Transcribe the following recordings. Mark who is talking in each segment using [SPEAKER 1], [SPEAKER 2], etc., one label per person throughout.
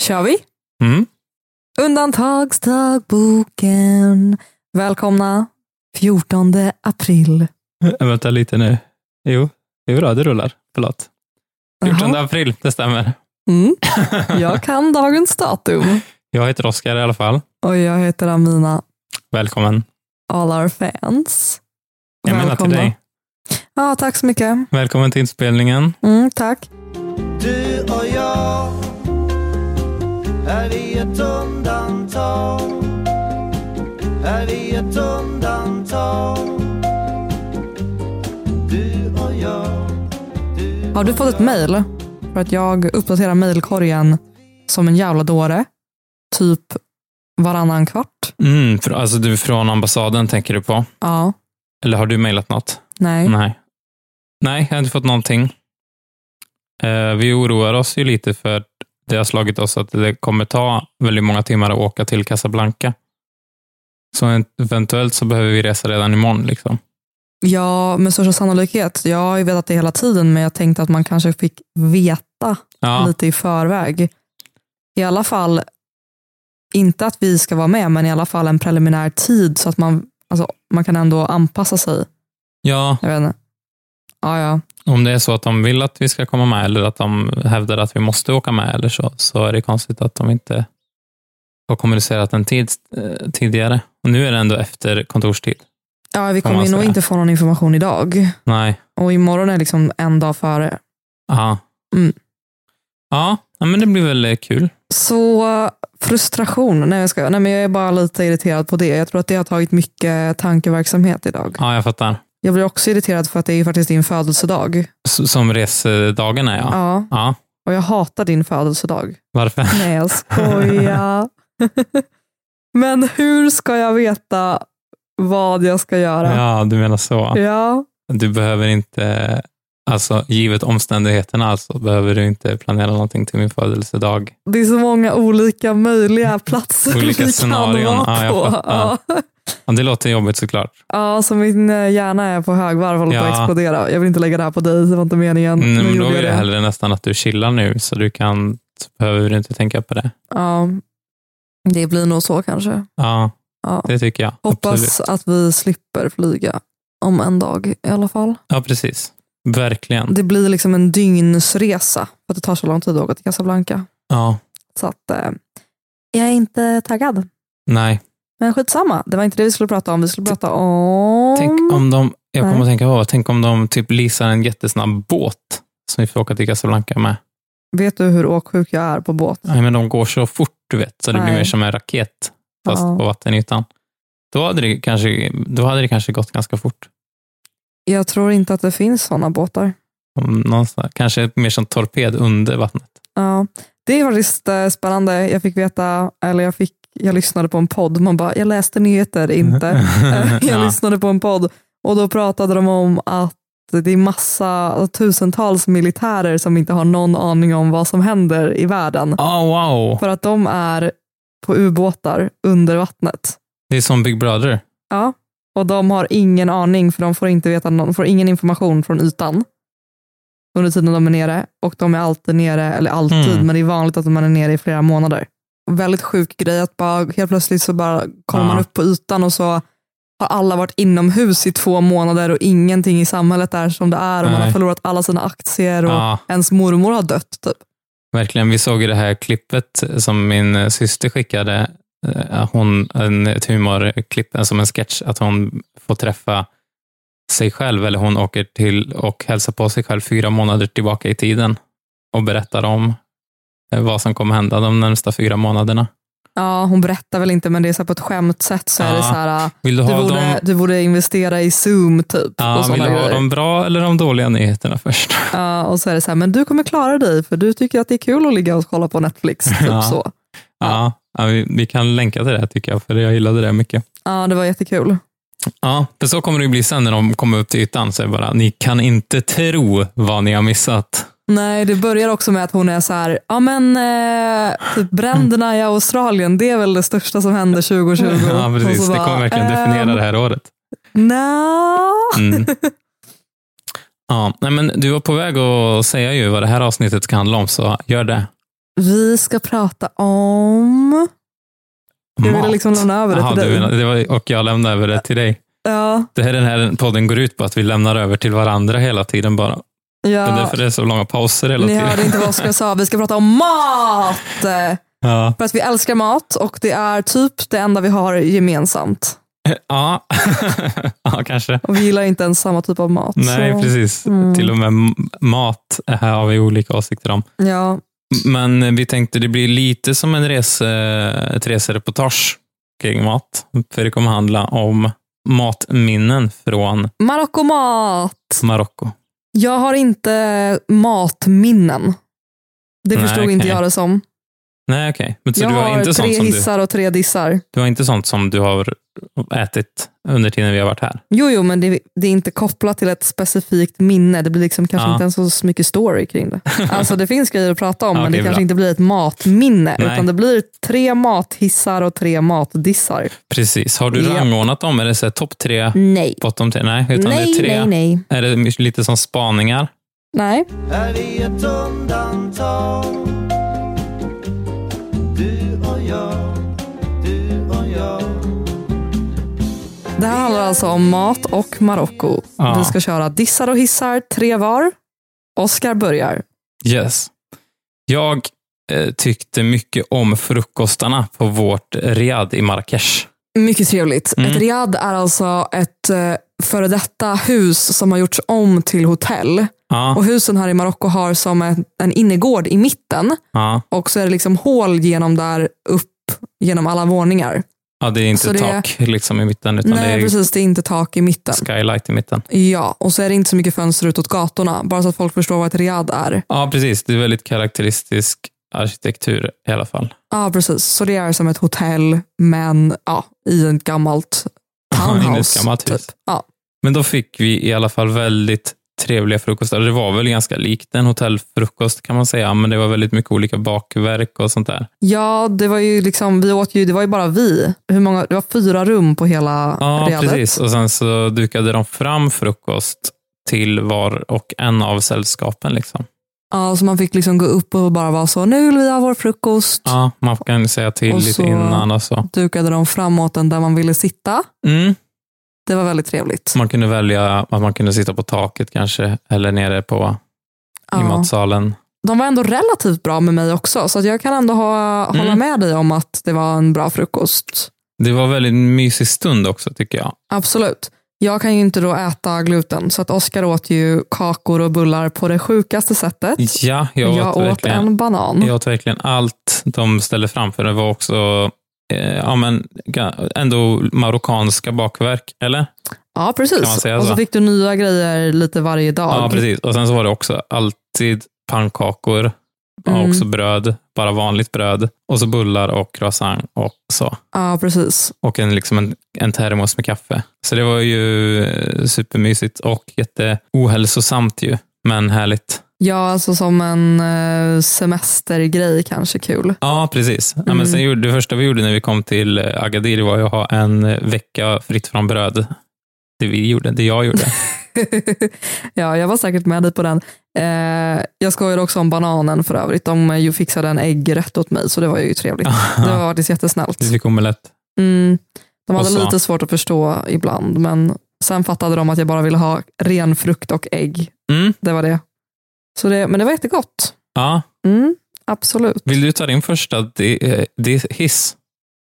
[SPEAKER 1] Kör vi?
[SPEAKER 2] Mm.
[SPEAKER 1] Undantagsdagboken. Välkomna 14 april.
[SPEAKER 2] Äh, Vänta lite nu. Jo, jo då, det rullar. Förlåt. 14
[SPEAKER 1] Jaha.
[SPEAKER 2] april, det stämmer.
[SPEAKER 1] Mm. Jag kan dagens datum.
[SPEAKER 2] Jag heter Oskar i alla fall.
[SPEAKER 1] Och jag heter Amina
[SPEAKER 2] Välkommen.
[SPEAKER 1] All Our Fans.
[SPEAKER 2] Jag menar till
[SPEAKER 1] Välkomna.
[SPEAKER 2] dig.
[SPEAKER 1] Ja, tack så mycket.
[SPEAKER 2] Välkommen till inspelningen.
[SPEAKER 1] Mm, tack.
[SPEAKER 3] Du och jag Är vi ett undantag? Är vi ett undantag? Du och jag du
[SPEAKER 1] Har du
[SPEAKER 3] och
[SPEAKER 1] fått ett mejl? För att jag uppdaterar mejlkorgen som en jävla dåre. Typ varannan kvart.
[SPEAKER 2] Mm, för, alltså du från ambassaden tänker du på?
[SPEAKER 1] Ja,
[SPEAKER 2] Eller har du mejlat något?
[SPEAKER 1] nej.
[SPEAKER 2] Nej. Nej, jag har inte fått någonting. Eh, vi oroar oss ju lite för det har slagit oss att det kommer ta väldigt många timmar att åka till Casablanca. Så en- eventuellt så behöver vi resa redan imorgon. Liksom.
[SPEAKER 1] Ja, med största sannolikhet. Jag har ju vetat det hela tiden, men jag tänkte att man kanske fick veta
[SPEAKER 2] Ja,
[SPEAKER 1] lite i förväg. I alla fall, inte att vi ska vara med, men i alla fall en preliminär tid så att man, alltså, man kan ändå anpassa sig.
[SPEAKER 2] ja,
[SPEAKER 1] Jag vet inte. Ja, ja.
[SPEAKER 2] om det är så att de vill att vi ska komma med eller att de hävdar att vi måste åka med eller så, så är det konstigt att de inte har kommunicerat en tid eh, tidigare. Och nu är det ändå efter kontorstid.
[SPEAKER 1] ja vi
[SPEAKER 2] Får man
[SPEAKER 1] kommer ju nog
[SPEAKER 2] säga.
[SPEAKER 1] inte få någon information idag.
[SPEAKER 2] Nej,
[SPEAKER 1] Och imorgon är liksom en dag före.
[SPEAKER 2] ja.
[SPEAKER 1] Mm.
[SPEAKER 2] Ja, ja, men det blir väl eh, kul.
[SPEAKER 1] Så frustration. Nej, jag, ska, nej, men jag är bara lite irriterad på det. Jag tror att det har tagit mycket tankeverksamhet idag.
[SPEAKER 2] Ja, jag fattar.
[SPEAKER 1] Jag blir också irriterad för att det är ju faktiskt din födelsedag.
[SPEAKER 2] S- Som resedagen är, ja. ja.
[SPEAKER 1] Ja, och jag hatar din födelsedag.
[SPEAKER 2] varför?
[SPEAKER 1] Nej, jag skojar. Men hur ska jag veta vad jag ska göra? Ja.
[SPEAKER 2] Ja, du menar så. Du behöver inte, alltså givet omständigheterna alltså, behöver du inte planera någonting till min födelsedag.
[SPEAKER 1] det är så många olika möjliga platser
[SPEAKER 2] Olika
[SPEAKER 1] vi kan
[SPEAKER 2] scenarion.
[SPEAKER 1] vara
[SPEAKER 2] Ja, jag
[SPEAKER 1] på.
[SPEAKER 2] fattar. Ja, det låter jobbigt såklart.
[SPEAKER 1] Ja, så min eh, hjärna är på högvarv och håller på att
[SPEAKER 2] Ja.
[SPEAKER 1] explodera. Jag vill inte lägga det här på dig, det var inte meningen.
[SPEAKER 2] Mm,
[SPEAKER 1] Nu
[SPEAKER 2] men då
[SPEAKER 1] gjorde jag
[SPEAKER 2] vill jag hellre nästan att du chillar nu, så du kan, så behöver du inte tänka på det.
[SPEAKER 1] Ja, det blir nog så kanske.
[SPEAKER 2] Ja,
[SPEAKER 1] Ja.
[SPEAKER 2] det tycker jag.
[SPEAKER 1] Hoppas
[SPEAKER 2] Absolut.
[SPEAKER 1] att vi slipper flyga om en dag i alla fall.
[SPEAKER 2] Ja, precis. Verkligen.
[SPEAKER 1] Det blir liksom en dygnsresa för att det tar så lång tid att åka till Casablanca.
[SPEAKER 2] Ja,
[SPEAKER 1] Så att, eh, jag är inte taggad.
[SPEAKER 2] nej.
[SPEAKER 1] Men skitsamma, det var inte det vi skulle prata om. Vi skulle prata om...
[SPEAKER 2] Tänk om de, jag kommer
[SPEAKER 1] Mm. Nej.
[SPEAKER 2] att tänka på, tänk om de typ leasar en jättesnabb båt som vi får åka till Casablanca med.
[SPEAKER 1] Vet du hur åksjuk jag är på båt?
[SPEAKER 2] Nej, men de går så fort, du vet, så det
[SPEAKER 1] Nej.
[SPEAKER 2] blir mer som en raket, fast
[SPEAKER 1] Ja.
[SPEAKER 2] på vattenytan. Då hade, det kanske, då hade det kanske gått ganska fort.
[SPEAKER 1] Jag tror inte att det finns sådana båtar.
[SPEAKER 2] Om någonstans, kanske mer som torped under vattnet.
[SPEAKER 1] Ja, det är faktiskt eh, spännande. Jag fick veta, eller jag, fick, jag lyssnade på en podd. Man bara, jag läste nyheter, inte. Eh, jag
[SPEAKER 2] ja.
[SPEAKER 1] lyssnade på en podd och då pratade de om att det är massa, tusentals militärer som inte har någon aning om vad som händer i världen.
[SPEAKER 2] Oh, wow,
[SPEAKER 1] För att de är på ubåtar under vattnet.
[SPEAKER 2] det är som Big Brother.
[SPEAKER 1] Ja. Och de har ingen aning, för de får, inte veta någon, får ingen information från ytan under tiden de är nere. Och de är alltid nere, eller alltid,
[SPEAKER 2] Mm.
[SPEAKER 1] men det är vanligt att man är nere i flera månader. Väldigt sjuk grej att bara, helt plötsligt så bara kommer
[SPEAKER 2] Ja.
[SPEAKER 1] man upp på ytan och så har alla varit inomhus i två månader och ingenting i samhället är som det är och man har
[SPEAKER 2] Nej.
[SPEAKER 1] förlorat alla sina aktier och
[SPEAKER 2] Ja,
[SPEAKER 1] ens mormor har dött. Typ.
[SPEAKER 2] verkligen. Vi såg ju det här klippet som min eh, syster skickade. eh, Hon, en, ett humorklipp, eh, som en sketch, att hon får träffa sig själv, eller hon åker till och hälsar på sig själv fyra månader tillbaka i tiden och berättar om eh, vad som kommer hända de närmsta fyra månaderna.
[SPEAKER 1] Ja, hon berättar väl inte men det är så här på ett skämtsätt så är det
[SPEAKER 2] Ja.
[SPEAKER 1] så här,
[SPEAKER 2] Vill du
[SPEAKER 1] du
[SPEAKER 2] ha,
[SPEAKER 1] borde,
[SPEAKER 2] de,
[SPEAKER 1] du borde investera i Zoom typ. och
[SPEAKER 2] ja, vill
[SPEAKER 1] såna
[SPEAKER 2] du ha
[SPEAKER 1] grejer.
[SPEAKER 2] de bra eller de dåliga nyheterna först?
[SPEAKER 1] Ja, och så är det så här, men du kommer klara dig för du tycker att det är kul att ligga och kolla på Netflix. Typ
[SPEAKER 2] Ja.
[SPEAKER 1] så.
[SPEAKER 2] Ja, ja vi, vi kan länka till det här tycker jag, för jag gillade det mycket.
[SPEAKER 1] Ja, det var jättekul.
[SPEAKER 2] Ja, för så kommer det ju bli sen när de kommer upp till ytan. Så är det bara, ni kan inte tro vad ni har missat.
[SPEAKER 1] Nej, det börjar också med att hon är så här, ja men eh, typ bränderna i Australien, det är väl det största som händer 2020.
[SPEAKER 2] Ja,
[SPEAKER 1] Och
[SPEAKER 2] precis.
[SPEAKER 1] så
[SPEAKER 2] Det
[SPEAKER 1] Mm. bara,
[SPEAKER 2] kommer verkligen definiera
[SPEAKER 1] ehm,
[SPEAKER 2] det här året.
[SPEAKER 1] nja.
[SPEAKER 2] Mm. Ja, nej, men du var på väg att säga ju vad det här avsnittet ska handla om, så gör det.
[SPEAKER 1] Vi ska prata om... Jag ville
[SPEAKER 2] Mat.
[SPEAKER 1] liksom lämna över det
[SPEAKER 2] Jaha,
[SPEAKER 1] till dig.
[SPEAKER 2] du menar- det var, och jag lämnar över det till dig.
[SPEAKER 1] Ja,
[SPEAKER 2] Det här, den här podden går ut på att vi lämnar över till varandra hela tiden bara. Det är
[SPEAKER 1] ja.
[SPEAKER 2] därför det är så långa pauser hela
[SPEAKER 1] Ni
[SPEAKER 2] tiden.
[SPEAKER 1] hörde inte vad Oskar sa. Vi ska prata om mat!
[SPEAKER 2] Ja.
[SPEAKER 1] För att vi älskar mat och det är typ det enda vi har gemensamt.
[SPEAKER 2] Ja. ja, kanske.
[SPEAKER 1] Och vi gillar inte ens samma typ av mat.
[SPEAKER 2] Nej,
[SPEAKER 1] så,
[SPEAKER 2] precis.
[SPEAKER 1] Mm.
[SPEAKER 2] Till och med m- mat här har vi olika åsikter om.
[SPEAKER 1] Ja,
[SPEAKER 2] Men vi tänkte det blir lite som en rese, ett resereportage kring mat. För det kommer handla om matminnen från
[SPEAKER 1] Marockomat!
[SPEAKER 2] Marocko.
[SPEAKER 1] Jag har inte matminnen. Det
[SPEAKER 2] Nej,
[SPEAKER 1] förstod
[SPEAKER 2] okej.
[SPEAKER 1] inte jag det som.
[SPEAKER 2] Nej, okej. Men så
[SPEAKER 1] jag
[SPEAKER 2] du har,
[SPEAKER 1] har
[SPEAKER 2] inte
[SPEAKER 1] tre
[SPEAKER 2] sånt som du,
[SPEAKER 1] hissar och tre dissar.
[SPEAKER 2] du har inte sånt som du har ätit under tiden vi har varit här?
[SPEAKER 1] Jo, jo, men det, det är inte kopplat till ett specifikt minne. Det blir liksom kanske
[SPEAKER 2] Ja.
[SPEAKER 1] inte ens så mycket story kring det. Alltså det finns grejer att prata om,
[SPEAKER 2] Ja,
[SPEAKER 1] men det
[SPEAKER 2] det är
[SPEAKER 1] kanske
[SPEAKER 2] bra.
[SPEAKER 1] inte blir ett matminne.
[SPEAKER 2] Nej.
[SPEAKER 1] Utan det blir tre mathissar och tre matdissar.
[SPEAKER 2] Precis. Har du
[SPEAKER 1] Ja.
[SPEAKER 2] rangordnat dem? Är det så här topp tre,
[SPEAKER 1] Nej.
[SPEAKER 2] bottom tre? Nej, utan det
[SPEAKER 1] Nej,
[SPEAKER 2] är tre.
[SPEAKER 1] nej, nej.
[SPEAKER 2] Är det lite som spaningar?
[SPEAKER 1] Nej,
[SPEAKER 3] är vi ett undantag Du och jag, du och jag
[SPEAKER 1] det här handlar alltså om mat och Marocko.
[SPEAKER 2] Ja.
[SPEAKER 1] Vi ska köra dissar och hissar, tre var. Oskar börjar.
[SPEAKER 2] Yes. Jag eh, tyckte mycket om frukostarna på vårt Riyadh i Marrakesh.
[SPEAKER 1] Mycket trevligt.
[SPEAKER 2] Mm.
[SPEAKER 1] Ett riad är alltså ett eh, före detta hus som har gjorts om till hotell.
[SPEAKER 2] Ja,
[SPEAKER 1] Och husen här i Marocko har som en, en innergård i mitten
[SPEAKER 2] ja,
[SPEAKER 1] och så är det liksom hål genom där upp genom alla våningar.
[SPEAKER 2] ja, det är
[SPEAKER 1] Så
[SPEAKER 2] inte
[SPEAKER 1] det-
[SPEAKER 2] tak liksom i mitten, utan
[SPEAKER 1] Nej,
[SPEAKER 2] det är
[SPEAKER 1] precis. Det är inte tak i mitten.
[SPEAKER 2] skylight i mitten.
[SPEAKER 1] Ja, och så är det inte så mycket fönster utåt gatorna, bara så att folk förstår vad ett riad är.
[SPEAKER 2] Ja, precis. Det är väldigt karaktäristisk arkitektur i alla fall.
[SPEAKER 1] Ja, precis. Så det är som ett hotell, men ja, i ett gammalt
[SPEAKER 2] I
[SPEAKER 1] townhouse.
[SPEAKER 2] ett gammalt hus.
[SPEAKER 1] Typ. Ja.
[SPEAKER 2] Men då fick vi i alla fall väldigt trevliga frukostar. Det var väl ganska likt en hotellfrukost kan man säga, men det var väldigt mycket olika bakverk och sånt där.
[SPEAKER 1] ja, det var ju liksom, vi åt ju, det var ju bara vi. Hur många, det var fyra rum på hela
[SPEAKER 2] Ja,
[SPEAKER 1] riadet.
[SPEAKER 2] precis. Och sen så dukade de fram frukost till var och en av sällskapen. Liksom.
[SPEAKER 1] Ja, så man fick liksom gå upp och bara vara så, nu vill vi ha vår frukost.
[SPEAKER 2] Ja, man kan säga till
[SPEAKER 1] Och
[SPEAKER 2] lite
[SPEAKER 1] så-
[SPEAKER 2] innan. Och så.
[SPEAKER 1] dukade de framåt den där man ville sitta.
[SPEAKER 2] Mm.
[SPEAKER 1] Det var väldigt trevligt.
[SPEAKER 2] Man kunde välja att man kunde sitta på taket kanske, eller nere på, i
[SPEAKER 1] Ja.
[SPEAKER 2] matsalen.
[SPEAKER 1] De var ändå relativt bra med mig också, så att jag kan ändå ha, hålla
[SPEAKER 2] Mm.
[SPEAKER 1] med dig om att det var en bra frukost.
[SPEAKER 2] Det var väldigt mysig stund också, tycker jag.
[SPEAKER 1] Absolut. Jag kan ju inte då äta gluten, så att Oskar åt ju kakor och bullar på det sjukaste sättet.
[SPEAKER 2] Ja, jag åt,
[SPEAKER 1] jag åt
[SPEAKER 2] verkligen,
[SPEAKER 1] en banan.
[SPEAKER 2] jag åt verkligen allt de ställde fram, för det var också eh, ja, men, ga- ändå marockanska bakverk, eller?
[SPEAKER 1] Ja,
[SPEAKER 2] Kan man
[SPEAKER 1] precis.
[SPEAKER 2] säga
[SPEAKER 1] Och så
[SPEAKER 2] så?
[SPEAKER 1] fick du nya grejer lite varje dag.
[SPEAKER 2] Ja, precis. Och sen så var det också alltid pannkakor,
[SPEAKER 1] Mm.
[SPEAKER 2] och också bröd, bara vanligt bröd, och så bullar och croissant och så.
[SPEAKER 1] Ja, precis.
[SPEAKER 2] Och en, liksom en, en termos med kaffe. Så det var ju eh, supermysigt och jätteohälsosamt ju, men härligt.
[SPEAKER 1] Ja, alltså som en eh, semestergrej kanske kul.
[SPEAKER 2] Ja, precis. Ja,
[SPEAKER 1] Mm.
[SPEAKER 2] men sen gjorde, det första vi gjorde när vi kom till eh, Agadir var ju att ha en eh, vecka fritt från bröd. Det vi gjorde, det jag gjorde.
[SPEAKER 1] ja, jag var säkert med dig på den. Eh, jag skojade också om bananen för övrigt. De eh, ju fixade en äggrätt åt mig, så det var ju trevligt. Det var faktiskt jättesnällt.
[SPEAKER 2] Vi fick omelett.
[SPEAKER 1] Mm. De
[SPEAKER 2] Och
[SPEAKER 1] hade
[SPEAKER 2] så-
[SPEAKER 1] lite svårt att förstå ibland, men sen fattade de att jag bara ville ha ren frukt och ägg.
[SPEAKER 2] Mm,
[SPEAKER 1] Det var det. Så det men det var jättegott.
[SPEAKER 2] ja.
[SPEAKER 1] Mm, absolut.
[SPEAKER 2] Vill du ta din första di- eh, di- hiss?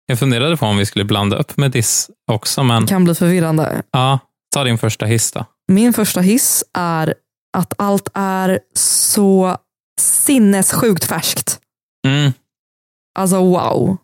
[SPEAKER 2] Jag funderade på om vi skulle blanda upp med diss också, men
[SPEAKER 1] Det kan bli förvirrande.
[SPEAKER 2] ja, ta din första hiss då.
[SPEAKER 1] Min första hiss är att allt är så sinnessjukt färskt.
[SPEAKER 2] Mm,
[SPEAKER 1] Alltså wow.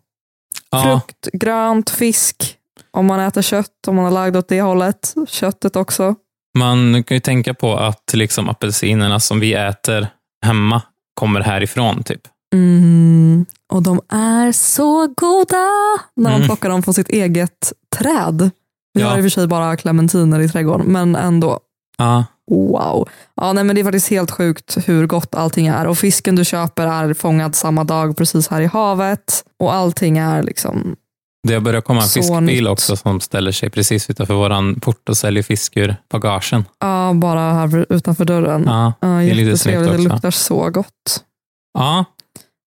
[SPEAKER 2] ja,
[SPEAKER 1] Frukt, grönt, fisk. Om man äter kött, om man är lagd åt det hållet. Köttet också.
[SPEAKER 2] man kan ju tänka på att liksom apelsinerna som vi äter hemma kommer härifrån. typ.
[SPEAKER 1] Mm. Och de är så goda när man
[SPEAKER 2] Mm.
[SPEAKER 1] plockar dem från sitt eget träd. Vi
[SPEAKER 2] Ja.
[SPEAKER 1] har i och för sig bara clementiner i trädgården, men ändå.
[SPEAKER 2] Ja,
[SPEAKER 1] Wow. Ja, nej, men det är faktiskt helt sjukt hur gott allting är. Och fisken du köper är fångad samma dag precis här i havet. Och allting är liksom...
[SPEAKER 2] det har börjat komma en
[SPEAKER 1] Så
[SPEAKER 2] fiskbil
[SPEAKER 1] nytt.
[SPEAKER 2] också som ställer sig precis utanför vår port och säljer fisk ur bagagen.
[SPEAKER 1] Ja, bara här utanför dörren.
[SPEAKER 2] Ja,
[SPEAKER 1] Ja,
[SPEAKER 2] är lite snyggt
[SPEAKER 1] jättetrevligt. Det
[SPEAKER 2] också.
[SPEAKER 1] luktar så gott.
[SPEAKER 2] ja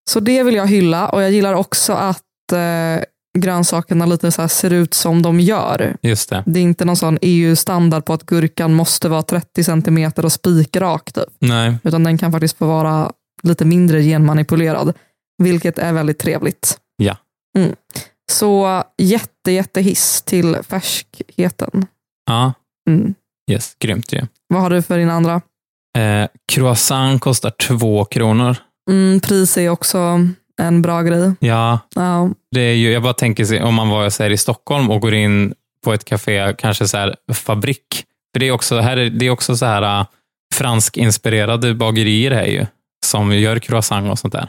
[SPEAKER 1] Så det vill jag hylla och jag gillar också att eh, grönsakerna lite så här ser ut som de gör.
[SPEAKER 2] Just det.
[SPEAKER 1] Det är inte någon sån EU-standard på att gurkan måste vara 30 centimeter och spikrak, typ.
[SPEAKER 2] Nej,
[SPEAKER 1] utan den kan faktiskt få vara lite mindre genmanipulerad, vilket är väldigt trevligt.
[SPEAKER 2] Ja.
[SPEAKER 1] Mm. Så jätte, jätte hiss till färskheten.
[SPEAKER 2] ja,
[SPEAKER 1] Mm.
[SPEAKER 2] yes, grymt ju.
[SPEAKER 1] Vad har du för din andra?
[SPEAKER 2] Eh, croissant kostar två kronor.
[SPEAKER 1] Mm, pris är också en bra grej.
[SPEAKER 2] Ja,
[SPEAKER 1] Ja,
[SPEAKER 2] det är ju, jag bara tänker sig, om man var jag säger, i Stockholm och går in på ett café, kanske så här fabrik. För det är också, här är, det är också så här äh, franskinspirerade bagerier här ju, som gör croissant och sånt där.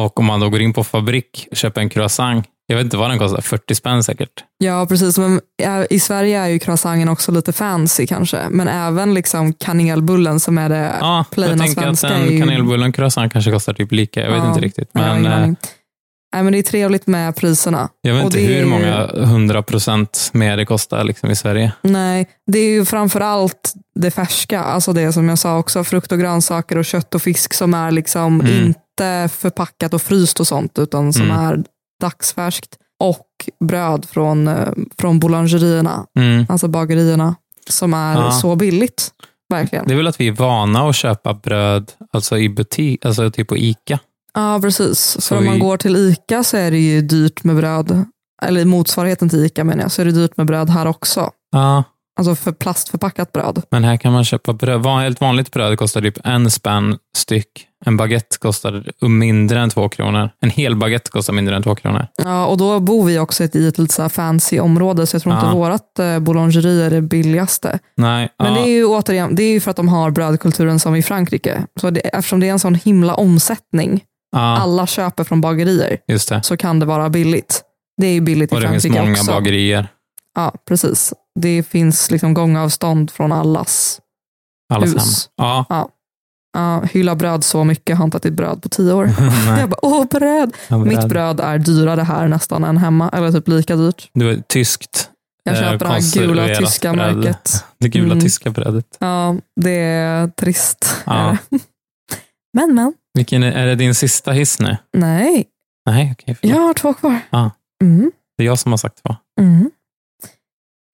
[SPEAKER 2] Och om man då går in på fabrik, köper en croissant, jag vet inte vad den kostar, 40 spänn säkert.
[SPEAKER 1] ja precis. Men ja, I Sverige är ju croissanten också lite fancy kanske, men även liksom kanelbullen som är det.
[SPEAKER 2] Ja,
[SPEAKER 1] plaina
[SPEAKER 2] jag tänker att
[SPEAKER 1] svenska är
[SPEAKER 2] en
[SPEAKER 1] ju-
[SPEAKER 2] kanelbullen croissant kanske kostar typ lika, jag vet
[SPEAKER 1] Ja,
[SPEAKER 2] inte riktigt.
[SPEAKER 1] Jag har
[SPEAKER 2] Men eh,
[SPEAKER 1] ingen
[SPEAKER 2] jag,
[SPEAKER 1] aning. Nej, men det är trevligt med priserna.
[SPEAKER 2] jag vet
[SPEAKER 1] och
[SPEAKER 2] inte
[SPEAKER 1] det är
[SPEAKER 2] hur
[SPEAKER 1] ju-
[SPEAKER 2] många hundra procent mer det kostar liksom i Sverige.
[SPEAKER 1] Nej, det är ju framförallt det färska, alltså det som jag sa också, frukt och grönsaker och kött och fisk som är liksom
[SPEAKER 2] Mm.
[SPEAKER 1] inte förpackat och fryst och sånt, utan som
[SPEAKER 2] Mm.
[SPEAKER 1] är dagsfärskt. Och bröd från, eh, från boulangerierna,
[SPEAKER 2] Mm.
[SPEAKER 1] alltså bagerierna, som är
[SPEAKER 2] Ja.
[SPEAKER 1] så billigt. Verkligen.
[SPEAKER 2] Det är väl att vi är vana att köpa bröd alltså i butik, alltså typ på ICA.
[SPEAKER 1] Ja, precis. För
[SPEAKER 2] Så
[SPEAKER 1] om man
[SPEAKER 2] i-
[SPEAKER 1] går till ICA så är det ju dyrt med bröd, eller motsvarigheten till ICA menar jag, så är det dyrt med bröd här också.
[SPEAKER 2] Ja,
[SPEAKER 1] Alltså för plastförpackat bröd.
[SPEAKER 2] men här kan man köpa bröd. Van, helt vanligt bröd kostar typ en spänn styck. En baguette kostar mindre än två kronor. En hel baguette kostar mindre än två kronor.
[SPEAKER 1] Ja, och då bor vi också i ett, i ett lite så här fancy område, så jag tror
[SPEAKER 2] Ja.
[SPEAKER 1] inte vårt eh, boulangeri är det billigaste.
[SPEAKER 2] Nej,
[SPEAKER 1] Men
[SPEAKER 2] ja,
[SPEAKER 1] det är ju återigen, det är ju för att de har brödkulturen som i Frankrike. Så det, eftersom det är en sån himla omsättning,
[SPEAKER 2] ja,
[SPEAKER 1] alla köper från bagerier,
[SPEAKER 2] just det.
[SPEAKER 1] så kan det vara billigt. Det är ju billigt
[SPEAKER 2] Och
[SPEAKER 1] i
[SPEAKER 2] det finns
[SPEAKER 1] Frankrike
[SPEAKER 2] många
[SPEAKER 1] också.
[SPEAKER 2] bagerier.
[SPEAKER 1] Ja, precis. Det finns liksom gångavstånd från allas.
[SPEAKER 2] Alla
[SPEAKER 1] Hus.
[SPEAKER 2] samma. Ja,
[SPEAKER 1] Ja, hylla bröd så mycket, jag har inte ätit bröd på tio år.
[SPEAKER 2] nej,
[SPEAKER 1] jag bara, åh bröd!
[SPEAKER 2] ja,
[SPEAKER 1] Mitt bröd är dyrare här nästan än hemma, eller typ lika dyrt.
[SPEAKER 2] Du är tyskt.
[SPEAKER 1] Jag
[SPEAKER 2] eh,
[SPEAKER 1] köper det här gula
[SPEAKER 2] konserverat
[SPEAKER 1] tyska
[SPEAKER 2] bröd.
[SPEAKER 1] märket.
[SPEAKER 2] Det gula
[SPEAKER 1] Mm.
[SPEAKER 2] tyska brödet.
[SPEAKER 1] Ja, det är trist.
[SPEAKER 2] Ja.
[SPEAKER 1] Är det. Men, men.
[SPEAKER 2] Vilken är, är det din sista hiss nu?
[SPEAKER 1] Nej,
[SPEAKER 2] Nej, okej. förlåt.
[SPEAKER 1] jag har två kvar.
[SPEAKER 2] Ja.
[SPEAKER 1] Mm,
[SPEAKER 2] det är jag som har sagt två.
[SPEAKER 1] mm.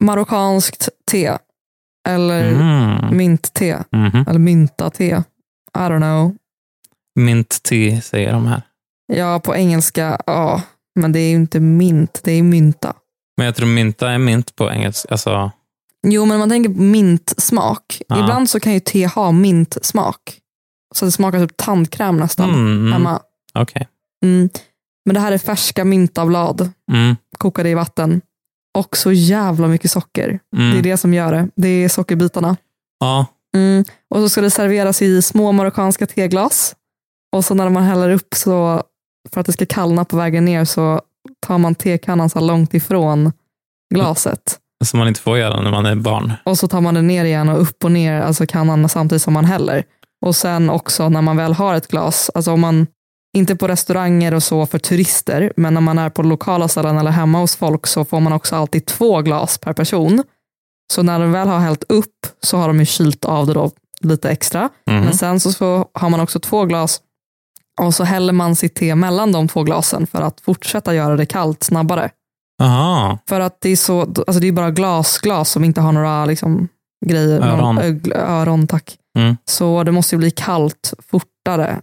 [SPEAKER 1] Marockanskt te. Eller
[SPEAKER 2] Mm.
[SPEAKER 1] mintte.
[SPEAKER 2] Mhm.
[SPEAKER 1] Eller mynta-te. I don't know.
[SPEAKER 2] Mint tea säger de här.
[SPEAKER 1] Ja, på engelska, ja. Men det är ju inte mint, det är mynta.
[SPEAKER 2] Men jag tror mynta är mynt på engelska. Alltså,
[SPEAKER 1] Jo, men man tänker på mintsmak.
[SPEAKER 2] Ja.
[SPEAKER 1] Ibland så kan ju te ha mintsmak. Så det smakar typ tandkräm nästan.
[SPEAKER 2] mm, mm,
[SPEAKER 1] Hemma.
[SPEAKER 2] okej.
[SPEAKER 1] Mm. Men det här är färska myntablad,
[SPEAKER 2] Mm,
[SPEAKER 1] kokade i vatten. Och så jävla mycket socker. Det är
[SPEAKER 2] mm.
[SPEAKER 1] det som gör det. Det är sockerbitarna.
[SPEAKER 2] Ja,
[SPEAKER 1] Mm. Och så ska det serveras i små marockanska teglas. Och så när man häller upp så, för att det ska kallna på vägen ner, så tar man tekannan så här långt ifrån glaset.
[SPEAKER 2] som man inte får göra när man är barn.
[SPEAKER 1] Och så tar man den ner igen och upp och ner, alltså kannan samtidigt som man häller. Och sen också när man väl har ett glas, alltså om man, inte på restauranger och så för turister, men när man är på lokala ställen eller hemma hos folk så får man också alltid två glas per person. Så när den väl har hällt upp så har de ju kylt av det då lite extra.
[SPEAKER 2] Mhm.
[SPEAKER 1] Men sen så, så har man också två glas och så häller man sitt te mellan de två glasen för att fortsätta göra det kallt snabbare.
[SPEAKER 2] Aha,
[SPEAKER 1] För att det är så, alltså det är bara glasglas som inte har några liksom, grejer.
[SPEAKER 2] Öron.
[SPEAKER 1] Någon, ögl- öron tack.
[SPEAKER 2] Mm.
[SPEAKER 1] Så det måste ju bli kallt fortare.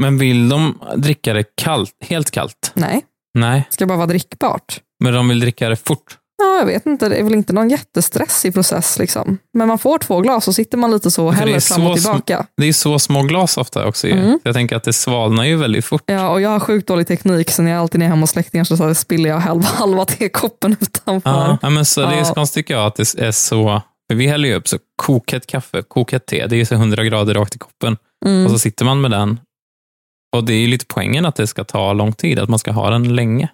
[SPEAKER 2] men vill de dricka det kallt, helt kallt?
[SPEAKER 1] Nej,
[SPEAKER 2] Nej,
[SPEAKER 1] det ska bara vara drickbart.
[SPEAKER 2] men de vill dricka det fort.
[SPEAKER 1] Ja, jag vet inte, det är väl inte någon jättestressig process. Liksom. Men man får två glas och sitter man lite så och
[SPEAKER 2] För det är
[SPEAKER 1] häller
[SPEAKER 2] så
[SPEAKER 1] fram och
[SPEAKER 2] sm-
[SPEAKER 1] tillbaka.
[SPEAKER 2] Det är så små glas ofta också. ju.
[SPEAKER 1] Mm.
[SPEAKER 2] Så Jag tänker att det svalnar ju väldigt fort.
[SPEAKER 1] Ja, och jag har sjukt dålig teknik, så när jag alltid är hemma hos släktingar så, så här spiller jag halva, halva tekoppen utanför.
[SPEAKER 2] Ja, ja, men så det är
[SPEAKER 1] Ja.
[SPEAKER 2] så konstigt tycker jag att det är så. För vi häller ju upp så kokhett kaffe, kokhett te. Det är ju så 100 grader rakt i koppen.
[SPEAKER 1] Mm.
[SPEAKER 2] Och så sitter man med den. Och det är ju lite poängen att det ska ta lång tid, att man ska ha den länge.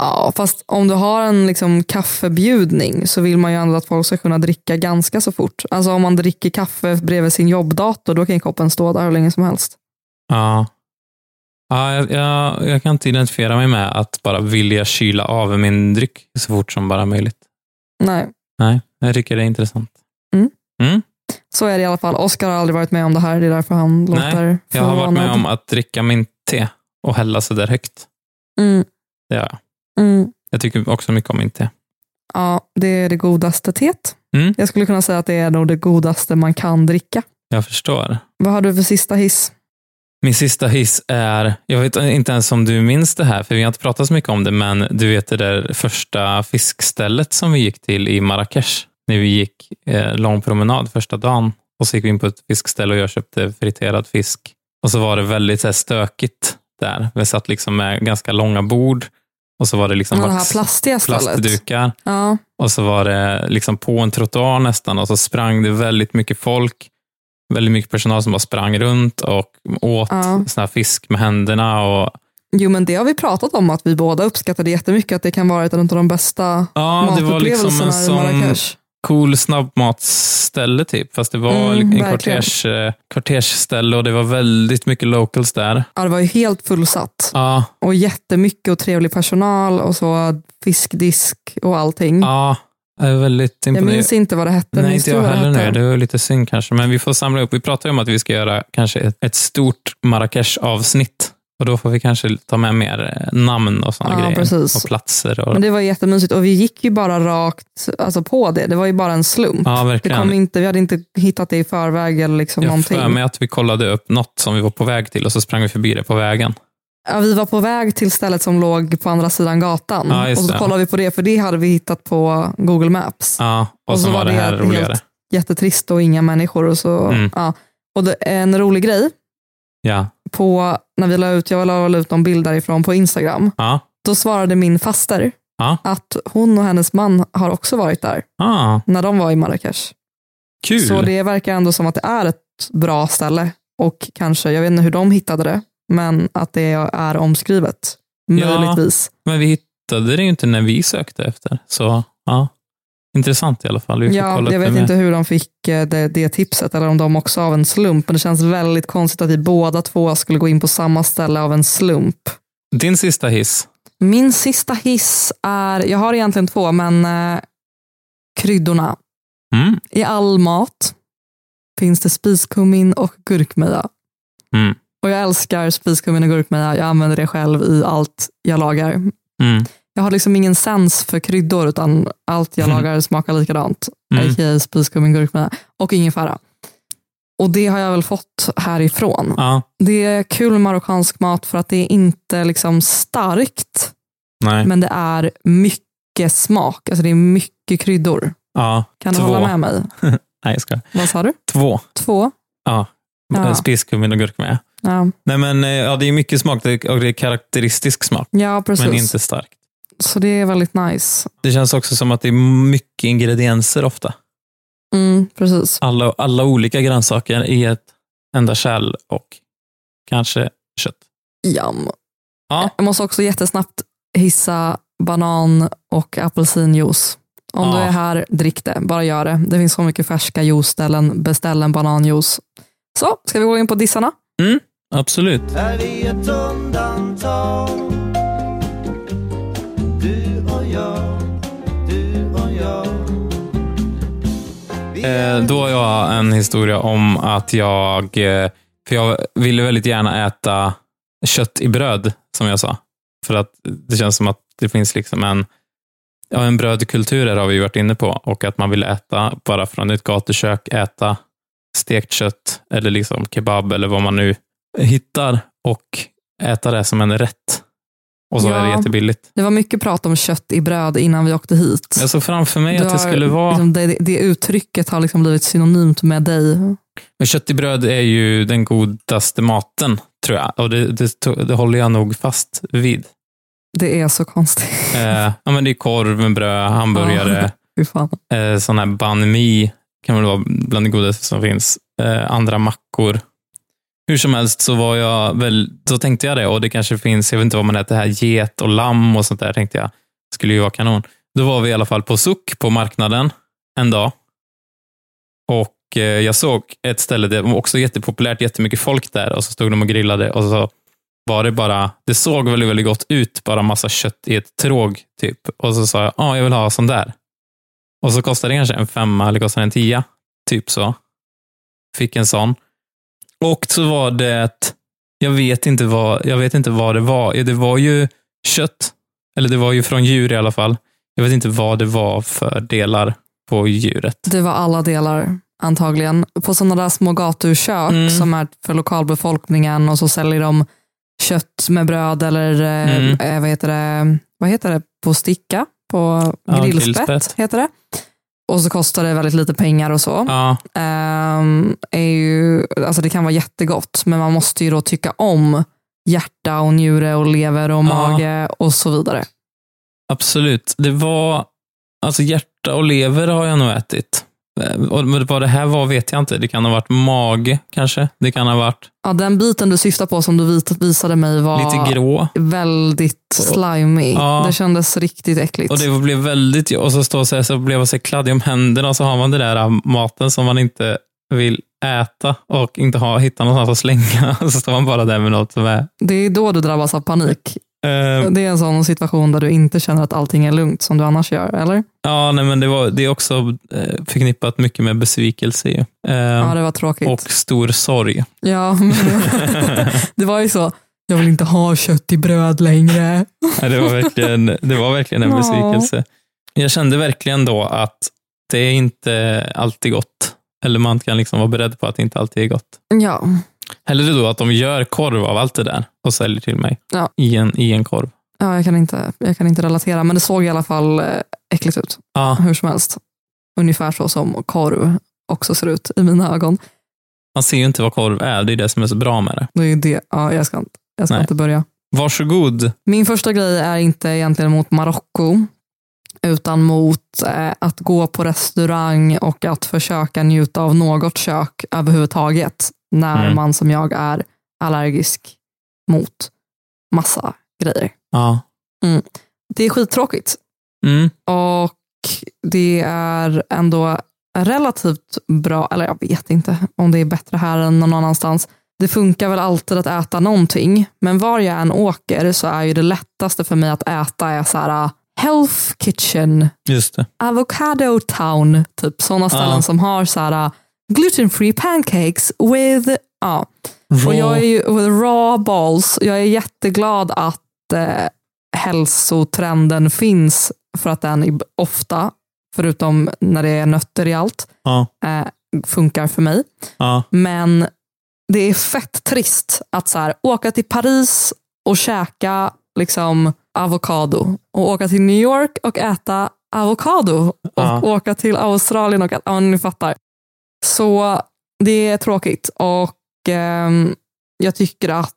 [SPEAKER 1] Ja, fast om du har en liksom kaffebjudning så vill man ju ändå att folk ska kunna dricka ganska så fort. Alltså om man dricker kaffe bredvid sin jobbdator, då kan ju koppen stå där hur länge som helst.
[SPEAKER 2] Ja. Ja, jag, jag, jag kan inte identifiera mig med att bara vilja kyla av min dryck så fort som bara möjligt.
[SPEAKER 1] Nej,
[SPEAKER 2] Nej, jag tycker det är intressant.
[SPEAKER 1] så är det i alla fall. Oskar har aldrig varit med om det här, det är därför han
[SPEAKER 2] Nej,
[SPEAKER 1] låter
[SPEAKER 2] Jag har varit med
[SPEAKER 1] förvånad.
[SPEAKER 2] om att dricka min te och hälla så där högt.
[SPEAKER 1] Mm,
[SPEAKER 2] Det gör jag.
[SPEAKER 1] mm.
[SPEAKER 2] Jag tycker också mycket om min te.
[SPEAKER 1] Ja, det är det godaste teet.
[SPEAKER 2] Mm.
[SPEAKER 1] Jag skulle kunna säga att det är nog det godaste man kan dricka.
[SPEAKER 2] Jag förstår.
[SPEAKER 1] Vad har du för sista hiss?
[SPEAKER 2] Min sista hiss är, jag vet inte ens om du minns det här, för vi har inte pratat så mycket om det, men du vet det där första fiskstället som vi gick till i Marrakesh, när vi gick eh, lång promenad första dagen. Och så gick vi in på ett fiskställe och jag köpte friterad fisk. Och så var det väldigt så här, stökigt där. Vi satt liksom med ganska långa bord och så var det liksom
[SPEAKER 1] Ja, det här
[SPEAKER 2] vax-
[SPEAKER 1] plastiga stället.
[SPEAKER 2] plastdukar.
[SPEAKER 1] Ja,
[SPEAKER 2] Och så var det liksom på en trottoar nästan och så sprang det väldigt mycket folk. Väldigt mycket personal som bara sprang runt och åt
[SPEAKER 1] Ja.
[SPEAKER 2] sån här fisk med händerna. Och,
[SPEAKER 1] jo men det har vi pratat om att vi båda uppskattade jättemycket att det kan vara ett av de bästa
[SPEAKER 2] ja, det var liksom
[SPEAKER 1] matupplevelserna
[SPEAKER 2] en
[SPEAKER 1] i
[SPEAKER 2] sån
[SPEAKER 1] Marrakesh.
[SPEAKER 2] cool snabbmatsställe typ. Fast det var
[SPEAKER 1] Mm,
[SPEAKER 2] en
[SPEAKER 1] verkligen.
[SPEAKER 2] kvarters, eh, kvartersställe och det var väldigt mycket locals där.
[SPEAKER 1] Ja, det var ju helt fullsatt
[SPEAKER 2] Ja,
[SPEAKER 1] och jättemycket och trevlig personal och så fiskdisk och allting.
[SPEAKER 2] ja, jag är väldigt
[SPEAKER 1] jag
[SPEAKER 2] imponerad.
[SPEAKER 1] minns inte vad det hette.
[SPEAKER 2] Nej,
[SPEAKER 1] minns
[SPEAKER 2] inte
[SPEAKER 1] du
[SPEAKER 2] jag
[SPEAKER 1] vad det
[SPEAKER 2] heller nu.
[SPEAKER 1] hette?
[SPEAKER 2] Det var lite synd kanske. Men vi får samla upp. Vi pratade ju om att vi ska göra kanske ett, ett stort Marrakesh-avsnitt. Och då får vi kanske ta med mer eh, namn och sådana
[SPEAKER 1] Ja,
[SPEAKER 2] grejer.
[SPEAKER 1] precis.
[SPEAKER 2] Och platser. Och,
[SPEAKER 1] Men det var jättemysigt och vi gick ju bara rakt alltså, på det. Det var ju bara en slump.
[SPEAKER 2] ja,
[SPEAKER 1] det
[SPEAKER 2] verkligen.
[SPEAKER 1] kom inte, vi hade inte hittat det i förväg eller liksom
[SPEAKER 2] jag har
[SPEAKER 1] någonting.
[SPEAKER 2] för mig att vi kollade upp något som vi var på väg till och så sprang vi förbi det på vägen.
[SPEAKER 1] Ja, vi var på väg till stället som låg på andra sidan gatan.
[SPEAKER 2] Ja, just
[SPEAKER 1] och så
[SPEAKER 2] det.
[SPEAKER 1] kollade vi på det, för det hade vi hittat på Google Maps.
[SPEAKER 2] Ja, och,
[SPEAKER 1] Och
[SPEAKER 2] så,
[SPEAKER 1] så
[SPEAKER 2] var
[SPEAKER 1] var
[SPEAKER 2] det
[SPEAKER 1] det
[SPEAKER 2] här
[SPEAKER 1] helt-
[SPEAKER 2] roligare.
[SPEAKER 1] Jättetrist och inga människor. Och, så,
[SPEAKER 2] Mm.
[SPEAKER 1] ja. och det, en rolig grej,
[SPEAKER 2] Ja.
[SPEAKER 1] på, när vi la ut, jag la väl ut någon bild därifrån på Instagram,
[SPEAKER 2] Ja.
[SPEAKER 1] då svarade min faster
[SPEAKER 2] Ja.
[SPEAKER 1] att hon och hennes man har också varit där
[SPEAKER 2] Ah,
[SPEAKER 1] när de var i Marrakesh.
[SPEAKER 2] kul.
[SPEAKER 1] Så det verkar ändå som att det är ett bra ställe och kanske, jag vet inte hur de hittade det, men att det är omskrivet. Möjligtvis.
[SPEAKER 2] Men vi hittade det ju inte när vi sökte efter. Så ja, intressant i alla fall. Vi får
[SPEAKER 1] Ja,
[SPEAKER 2] kolla
[SPEAKER 1] jag
[SPEAKER 2] upp
[SPEAKER 1] vet
[SPEAKER 2] det
[SPEAKER 1] inte hur de fick eh, det, det tipset eller om de också av en slump, men det känns väldigt konstigt att vi båda två skulle gå in på samma ställe av en slump.
[SPEAKER 2] mer. Din sista hiss.
[SPEAKER 1] Min sista hiss är, jag har egentligen två, men eh, kryddorna.
[SPEAKER 2] Mm.
[SPEAKER 1] I all mat finns det spiskummin och gurkmeja.
[SPEAKER 2] Mm.
[SPEAKER 1] Och jag älskar spiskummin och gurkmeja, jag använder det själv i allt jag lagar.
[SPEAKER 2] Mm.
[SPEAKER 1] Jag har liksom ingen sens för kryddor, utan allt jag
[SPEAKER 2] Mhm.
[SPEAKER 1] lagar smakar likadant.
[SPEAKER 2] Mm.
[SPEAKER 1] A.k.a. spiskummin, gurkmeja och ingefära. Och det har jag väl fått härifrån.
[SPEAKER 2] Ja,
[SPEAKER 1] Det är kul med marockansk mat för att det är inte liksom starkt,
[SPEAKER 2] nej.
[SPEAKER 1] men det är mycket smak. Alltså det är mycket kryddor.
[SPEAKER 2] Ja,
[SPEAKER 1] Kan du
[SPEAKER 2] Två.
[SPEAKER 1] hålla med mig?
[SPEAKER 2] nej jag ska.
[SPEAKER 1] Vad sa du?
[SPEAKER 2] Två. Eh,
[SPEAKER 1] Två? Ja.
[SPEAKER 2] Ja. Spiskummin och gurkmeja.
[SPEAKER 1] Ja,
[SPEAKER 2] Nej men eh, ja, det är mycket smak det- och det är karaktäristisk smak,
[SPEAKER 1] ja precis.
[SPEAKER 2] men inte starkt.
[SPEAKER 1] Så det är väldigt nice.
[SPEAKER 2] Det känns också som att det är mycket ingredienser ofta.
[SPEAKER 1] Mm, precis.
[SPEAKER 2] Alla, alla olika grönsaker i ett enda kärl och kanske kött.
[SPEAKER 1] Jam.
[SPEAKER 2] Ja.
[SPEAKER 1] Jag måste också jättesnabbt hissa banan och apelsinjuice. Om
[SPEAKER 2] Ja.
[SPEAKER 1] du är här, drick det. Bara gör det. Det finns så mycket färska juiceställen. Beställ en bananjuice. Så, ska vi gå in på dissarna?
[SPEAKER 2] Absolut.
[SPEAKER 3] Är vi ett undantag? Du och jag, du och jag. Vi
[SPEAKER 2] Eh, då har jag en historia om att jag, eh, för jag ville väldigt gärna äta kött i bröd, som jag sa. För att det känns som att det finns liksom en, ja, en brödkultur här har vi ju varit inne på och att man vill äta bara från ett gatukök, äta stekt kött eller liksom kebab eller vad man nu hittar och äta det som en rätt. Och så är det
[SPEAKER 1] Ja.
[SPEAKER 2] jättebilligt.
[SPEAKER 1] Det var mycket prat om kött i bröd innan vi åkte hit.
[SPEAKER 2] Jag såg framför mig
[SPEAKER 1] Du
[SPEAKER 2] att det
[SPEAKER 1] har
[SPEAKER 2] skulle vara
[SPEAKER 1] liksom, det, det uttrycket har liksom blivit synonymt med dig.
[SPEAKER 2] Men kött i bröd är ju den godaste maten, tror jag. Och det, det, to- det håller jag nog fast vid.
[SPEAKER 1] Det är så konstigt.
[SPEAKER 2] Eh, ja, men det är korv med bröd, hamburgare,
[SPEAKER 1] Fy fan.
[SPEAKER 2] eh, sån här banh mi kan väl vara bland det godaste som finns. Eh, andra mackor. Hur som helst så var jag väl, så tänkte jag det och det kanske finns, jag vet inte vad man äter här, get och lamm och sånt där tänkte jag. Skulle ju vara kanon. Då var vi i alla fall på Suck på marknaden en dag. Och eh, jag såg ett ställe, det var också jättepopulärt, jättemycket folk där och så stod de och grillade och så var det bara, det såg väldigt, väldigt gott ut, bara massa kött i ett tråg typ. Och så sa jag, ja, jag vill ha sån där. Och så kostade det kanske en femma eller kostade en tia. Typ så. Fick en sån. Och så var det Jag vet inte vad, jag vet inte vad det var. Ja, Det var ju kött, eller det var ju från djur i alla fall. Jag vet inte vad det var för delar på djuret.
[SPEAKER 1] Det var alla delar antagligen. På sådana där små gatukök
[SPEAKER 2] Mm.
[SPEAKER 1] som är för lokalbefolkningen och så säljer de kött med bröd eller eh,
[SPEAKER 2] Mm.
[SPEAKER 1] eh, vad, heter det, vad heter det på sticka, på
[SPEAKER 2] Ja,
[SPEAKER 1] grillspett,
[SPEAKER 2] grillspett.
[SPEAKER 1] heter det. Och så kostar det väldigt lite pengar och så.
[SPEAKER 2] Ja,
[SPEAKER 1] Ehm, är ju, alltså det kan vara jättegott men man måste ju då tycka om hjärta och njure och lever och
[SPEAKER 2] Ja.
[SPEAKER 1] mage och så vidare.
[SPEAKER 2] absolut. Det var, alltså hjärta och lever har jag nog ätit. Eh, Och vad det här var vet jag inte. Det kan ha varit mage kanske. Det kan ha varit
[SPEAKER 1] Ja, den biten du syftar på som du vit- visade mig var
[SPEAKER 2] lite grå.
[SPEAKER 1] väldigt slimy.
[SPEAKER 2] Ja.
[SPEAKER 1] Det kändes riktigt äckligt.
[SPEAKER 2] Och det blev väldigt, och så står så här, så blev jag så kladdig om händerna och så har man den där äh, maten som man inte vill äta och inte ha, hitta någonstans att slänga. Och så står man bara där med något som är...
[SPEAKER 1] Det är då du drabbas av panik.
[SPEAKER 2] Eh,
[SPEAKER 1] Det är en sån situation där du inte känner att allting är lugnt som du annars gör, eller?
[SPEAKER 2] ja, nej, men det, var, det är också eh, förknippat mycket med besvikelse ju. Eh,
[SPEAKER 1] Ja, det var tråkigt.
[SPEAKER 2] och stor sorg.
[SPEAKER 1] Ja, men det var ju så, jag vill inte ha kött i bröd längre.
[SPEAKER 2] Nej, Det var verkligen, det var verkligen en
[SPEAKER 1] Ja.
[SPEAKER 2] besvikelse. Jag kände verkligen då att det är inte alltid gott. Eller man kan liksom vara beredd på att det inte alltid är gott.
[SPEAKER 1] Ja,
[SPEAKER 2] Hellre då att de gör korv av allt det där och säljer till mig
[SPEAKER 1] Ja.
[SPEAKER 2] i, en, i en korv.
[SPEAKER 1] ja jag, kan inte, jag kan inte relatera, men det såg i alla fall eh, äckligt ut,
[SPEAKER 2] Ja,
[SPEAKER 1] hur som helst. Ungefär så som korv också ser ut i mina ögon.
[SPEAKER 2] man ser ju inte vad korv är, det är det som är så bra med det.
[SPEAKER 1] Det är ju det. Ja, jag ska, inte- jag ska
[SPEAKER 2] Nej.
[SPEAKER 1] inte börja.
[SPEAKER 2] Varsågod.
[SPEAKER 1] Min första grej är inte egentligen mot Marocko, utan mot eh, att gå på restaurang och att försöka njuta av något kök överhuvudtaget när
[SPEAKER 2] Mm.
[SPEAKER 1] man som jag är allergisk mot massa grejer.
[SPEAKER 2] Ja.
[SPEAKER 1] Det är skittråkigt
[SPEAKER 2] Mm.
[SPEAKER 1] och det är ändå relativt bra, eller jag vet inte om det är bättre här än någon annanstans. Det funkar väl alltid att äta någonting, men var jag än åker så är ju det lättaste för mig att äta är så här äh, health kitchen,
[SPEAKER 2] Just det.
[SPEAKER 1] avocado town, typ sådana ställen
[SPEAKER 2] Ja.
[SPEAKER 1] som har så här gluten free pancakes with, ja, och jag är ju with raw balls. Jag är jätteglad att eh, hälsotrenden finns för att den i- ofta, förutom när det är nötter i allt,
[SPEAKER 2] Ja,
[SPEAKER 1] eh, funkar för mig.
[SPEAKER 2] ja,
[SPEAKER 1] Men det är fett trist att så här, åka till Paris och käka liksom, avokado och åka till New York och äta avokado och
[SPEAKER 2] Ja.
[SPEAKER 1] åka till Australien och äta, ja ni fattar. Så det är tråkigt och ehm, jag tycker att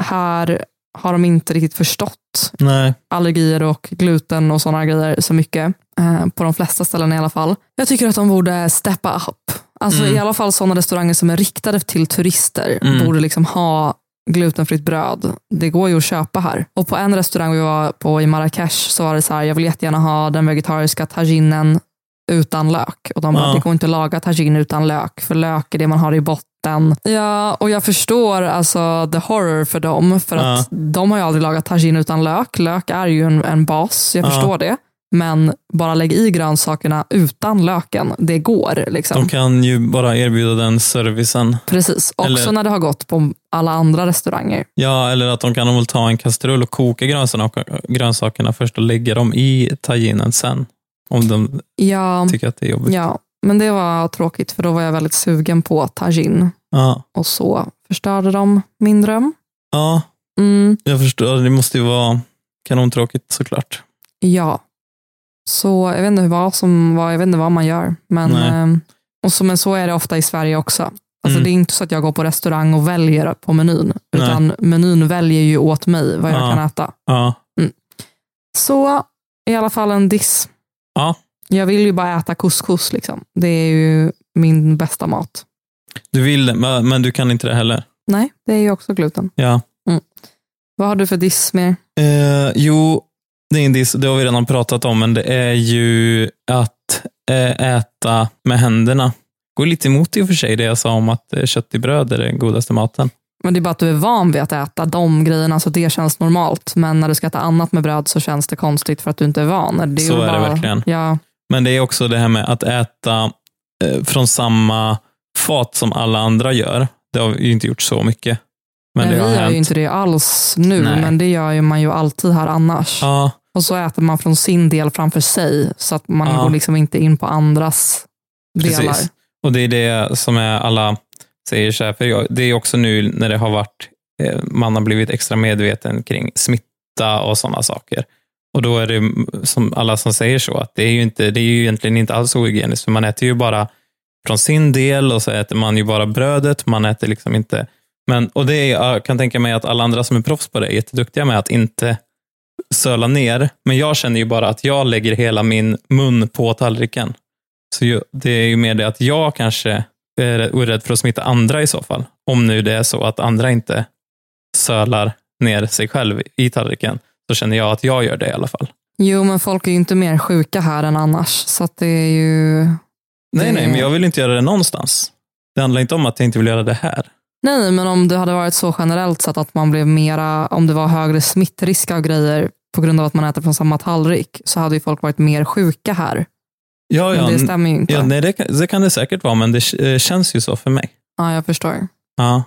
[SPEAKER 1] här har de inte riktigt förstått
[SPEAKER 2] nej.
[SPEAKER 1] allergier och gluten och sådana grejer så mycket. Eh, på de flesta ställen i alla fall. Jag tycker att de borde steppa upp. Alltså
[SPEAKER 2] Mm.
[SPEAKER 1] i alla fall sådana restauranger som är riktade till turister
[SPEAKER 2] Mm.
[SPEAKER 1] borde liksom ha glutenfritt bröd. Det går ju att köpa här. Och på en restaurang vi var på i Marrakesh så var det så här, jag vill jättegärna ha den vegetariska taginen utan lök. Och de bara,
[SPEAKER 2] Ja.
[SPEAKER 1] det går inte att laga tagine utan lök, för lök är det man har i botten. Ja, och jag förstår alltså the horror för dem, för
[SPEAKER 2] Ja.
[SPEAKER 1] att de har ju aldrig lagat tagine utan lök. Lök är ju en, en bas, jag
[SPEAKER 2] Ja.
[SPEAKER 1] förstår det. Men bara lägg i grönsakerna utan löken, det går. Liksom.
[SPEAKER 2] De kan ju bara erbjuda den servicen.
[SPEAKER 1] Precis, också
[SPEAKER 2] Eller-
[SPEAKER 1] när det har gått på alla andra restauranger.
[SPEAKER 2] Ja, eller att de kan väl ta en kastrull och koka grönsakerna, grönsakerna först och lägga dem i taginen sen. Om de
[SPEAKER 1] Ja,
[SPEAKER 2] tycker att det är jobbigt.
[SPEAKER 1] ja, men det var tråkigt för då var jag väldigt sugen på tagine
[SPEAKER 2] Ja,
[SPEAKER 1] och så förstörde de min dröm.
[SPEAKER 2] ja
[SPEAKER 1] Mm,
[SPEAKER 2] jag förstår. Det måste ju vara kanontråkigt såklart.
[SPEAKER 1] ja, så jag vet inte vad, som, vad, jag vet inte vad man gör. Men,
[SPEAKER 2] Nej.
[SPEAKER 1] ehm, och så, men så är det ofta i Sverige också. Alltså,
[SPEAKER 2] Mm.
[SPEAKER 1] Det är inte så att jag går på restaurang och väljer på menyn, utan menyn väljer ju åt mig vad jag
[SPEAKER 2] Ja.
[SPEAKER 1] kan äta.
[SPEAKER 2] Ja,
[SPEAKER 1] Så i alla fall en diss.
[SPEAKER 2] Ja.
[SPEAKER 1] Jag vill ju bara äta couscous. Liksom. Det är ju min bästa mat.
[SPEAKER 2] du vill det, men men du kan inte det heller.
[SPEAKER 1] Nej, det är ju också gluten. Mm.
[SPEAKER 2] Ja.
[SPEAKER 1] Vad har du för diss mer?
[SPEAKER 2] Eh, jo, det är en diss, det har vi redan pratat om, men det är ju att eh, äta med händerna. Går lite emot i och för sig det jag sa om att eh, kött i bröd är den godaste maten.
[SPEAKER 1] Men det är bara att du är van vid att äta de grejerna, så det känns normalt. Men när du ska äta annat med bröd så känns det konstigt för att du inte är van. Det är
[SPEAKER 2] Så
[SPEAKER 1] ju
[SPEAKER 2] är det
[SPEAKER 1] bara,
[SPEAKER 2] verkligen.
[SPEAKER 1] Ja,
[SPEAKER 2] Men det är också det här med att äta eh, från samma fat som alla andra gör. Det har ju inte gjort så mycket. Men
[SPEAKER 1] Nej,
[SPEAKER 2] det har
[SPEAKER 1] vi gör ju
[SPEAKER 2] hänt.
[SPEAKER 1] inte det alls nu,
[SPEAKER 2] Nej.
[SPEAKER 1] men det gör ju man ju alltid här annars.
[SPEAKER 2] Ja,
[SPEAKER 1] Och så äter man från sin del framför sig, så att man
[SPEAKER 2] Ja.
[SPEAKER 1] går liksom inte in på andras delar.
[SPEAKER 2] Precis. Och det är det som är alla säger så här, för jag, det är också nu när det har varit, eh, man har blivit extra medveten kring smitta och sådana saker. Och då är det mm, som alla som säger så, att det är ju, inte, det är ju egentligen inte alls ohygieniskt, för man äter ju bara från sin del och så äter man ju bara brödet, man äter liksom inte, men, och det är, jag kan tänka mig att alla andra som är proffs på det är jätteduktiga med att inte söla ner, men jag känner ju bara att jag lägger hela min mun på tallriken. Så ju, det är ju mer det att jag kanske är rä- orädd för att smitta andra i så fall. Om nu det är så att andra inte sölar ner sig själv i tallriken, så känner jag att jag gör det i alla fall.
[SPEAKER 1] Jo, men folk är ju inte mer sjuka här än annars, så att det är ju...
[SPEAKER 2] Nej,
[SPEAKER 1] Det-
[SPEAKER 2] nej, men jag vill inte göra det någonstans. Det handlar inte om att jag inte vill göra det här.
[SPEAKER 1] Nej, nej, men om det hade varit så generellt sett att man blev mera, om det var högre smittrisk av grejer på grund av att man äter från samma tallrik, så hade ju folk varit mer sjuka här.
[SPEAKER 2] Ja,
[SPEAKER 1] Men
[SPEAKER 2] ja,
[SPEAKER 1] det stämmer ju inte.
[SPEAKER 2] ja
[SPEAKER 1] Ja,
[SPEAKER 2] nej, det, kan, det kan det säkert vara, men det eh, känns ju så för mig.
[SPEAKER 1] jag förstår.
[SPEAKER 2] Ja.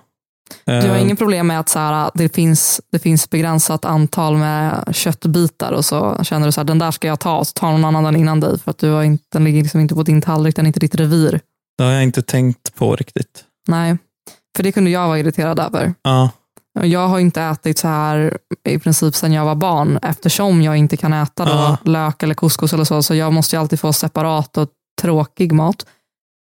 [SPEAKER 1] Du har
[SPEAKER 2] Eh,
[SPEAKER 1] ingen problem med att så här, det, finns, det finns begränsat antal med köttbitar och så känner du så här, den där ska jag ta och så tar någon annan den innan dig för att du har inte, den ligger liksom inte på din tallrik, den är inte ditt revir.
[SPEAKER 2] Det har jag inte tänkt på riktigt.
[SPEAKER 1] Nej, för det kunde jag vara irriterad över.
[SPEAKER 2] Ja,
[SPEAKER 1] Och Jag har inte ätit så här i princip sedan jag var barn eftersom jag inte kan äta då
[SPEAKER 2] Ja.
[SPEAKER 1] lök eller couscous eller så. Så jag måste ju alltid få separat och tråkig mat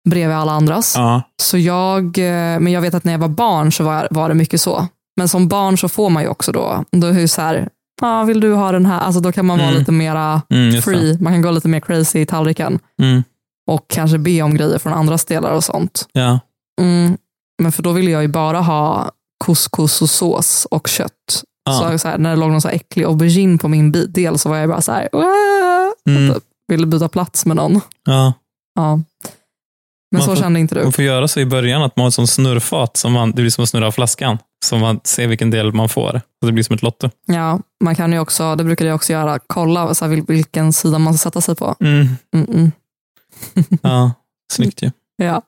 [SPEAKER 1] bredvid alla andras.
[SPEAKER 2] ja,
[SPEAKER 1] Så jag, eh, men jag vet att när jag var barn så var, var det mycket så. Men som barn så får man ju också då, då är det ju så här, ah, vill du ha den här? Alltså då kan man vara
[SPEAKER 2] Mm.
[SPEAKER 1] lite mera
[SPEAKER 2] mm, just det.
[SPEAKER 1] free, man kan gå lite mer crazy i tallriken
[SPEAKER 2] Mm,
[SPEAKER 1] och kanske be om grejer från andras delar och sånt.
[SPEAKER 2] ja.
[SPEAKER 1] Mm. Men för då ville jag ju bara ha couscous och sås och kött.
[SPEAKER 2] Ja.
[SPEAKER 1] Så, jag så här, när det låg någon så här äcklig aubergine på min bi- del så var jag bara så här, "Wah!"
[SPEAKER 2] Mm,
[SPEAKER 1] ville byta plats med någon.
[SPEAKER 2] ja.
[SPEAKER 1] Ja. Men
[SPEAKER 2] Man
[SPEAKER 1] så
[SPEAKER 2] får- Mm.
[SPEAKER 1] kände inte du.
[SPEAKER 2] Man får göra så i början att man har ett sånt snurrfat, som man, det blir som att snurra av flaskan, så man ser vilken del man får. Och det blir som ett lotto.
[SPEAKER 1] Ja, man kan ju också, det brukade jag också göra, kolla så här, vil- vilken sida man ska sätta sig på. Mm-mm.
[SPEAKER 2] Ja, snyggt ju.
[SPEAKER 1] Ja.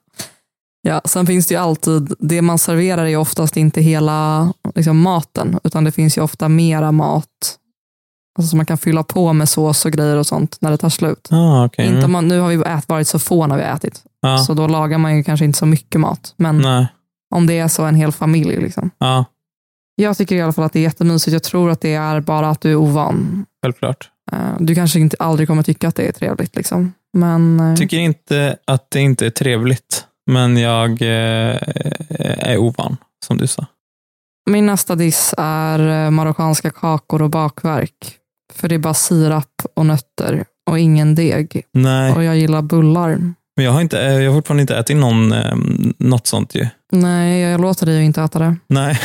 [SPEAKER 1] Ja, sen finns det ju alltid, det man serverar är ju oftast inte hela liksom, maten, utan det finns ju ofta mera mat alltså, som man kan fylla på med sås och grejer och sånt när det tar slut.
[SPEAKER 2] Ah, okay.
[SPEAKER 1] Inte om
[SPEAKER 2] mm.
[SPEAKER 1] man, nu har vi ät, varit så få när vi har ätit,
[SPEAKER 2] ja,
[SPEAKER 1] så då lagar man ju kanske inte så mycket mat. Men
[SPEAKER 2] Nej.
[SPEAKER 1] om det är så en hel familj. Liksom.
[SPEAKER 2] Ja,
[SPEAKER 1] Jag tycker i alla fall att det är jättemysigt. Jag tror att det är bara att du är ovan.
[SPEAKER 2] självklart.
[SPEAKER 1] Eh, Du kanske inte aldrig kommer tycka att det är trevligt. Liksom. Men, eh,
[SPEAKER 2] Tycker inte att det inte är trevligt, men jag eh, är ovan, som du sa.
[SPEAKER 1] Min nästa diss är eh, marockanska kakor och bakverk. För det är bara sirap och nötter och ingen deg.
[SPEAKER 2] Nej,
[SPEAKER 1] Och jag gillar bullar.
[SPEAKER 2] men jag har, inte, eh, jag har fortfarande inte ätit någon, eh, något sånt ju.
[SPEAKER 1] Nej, jag låter dig ju inte äta det.
[SPEAKER 2] Nej,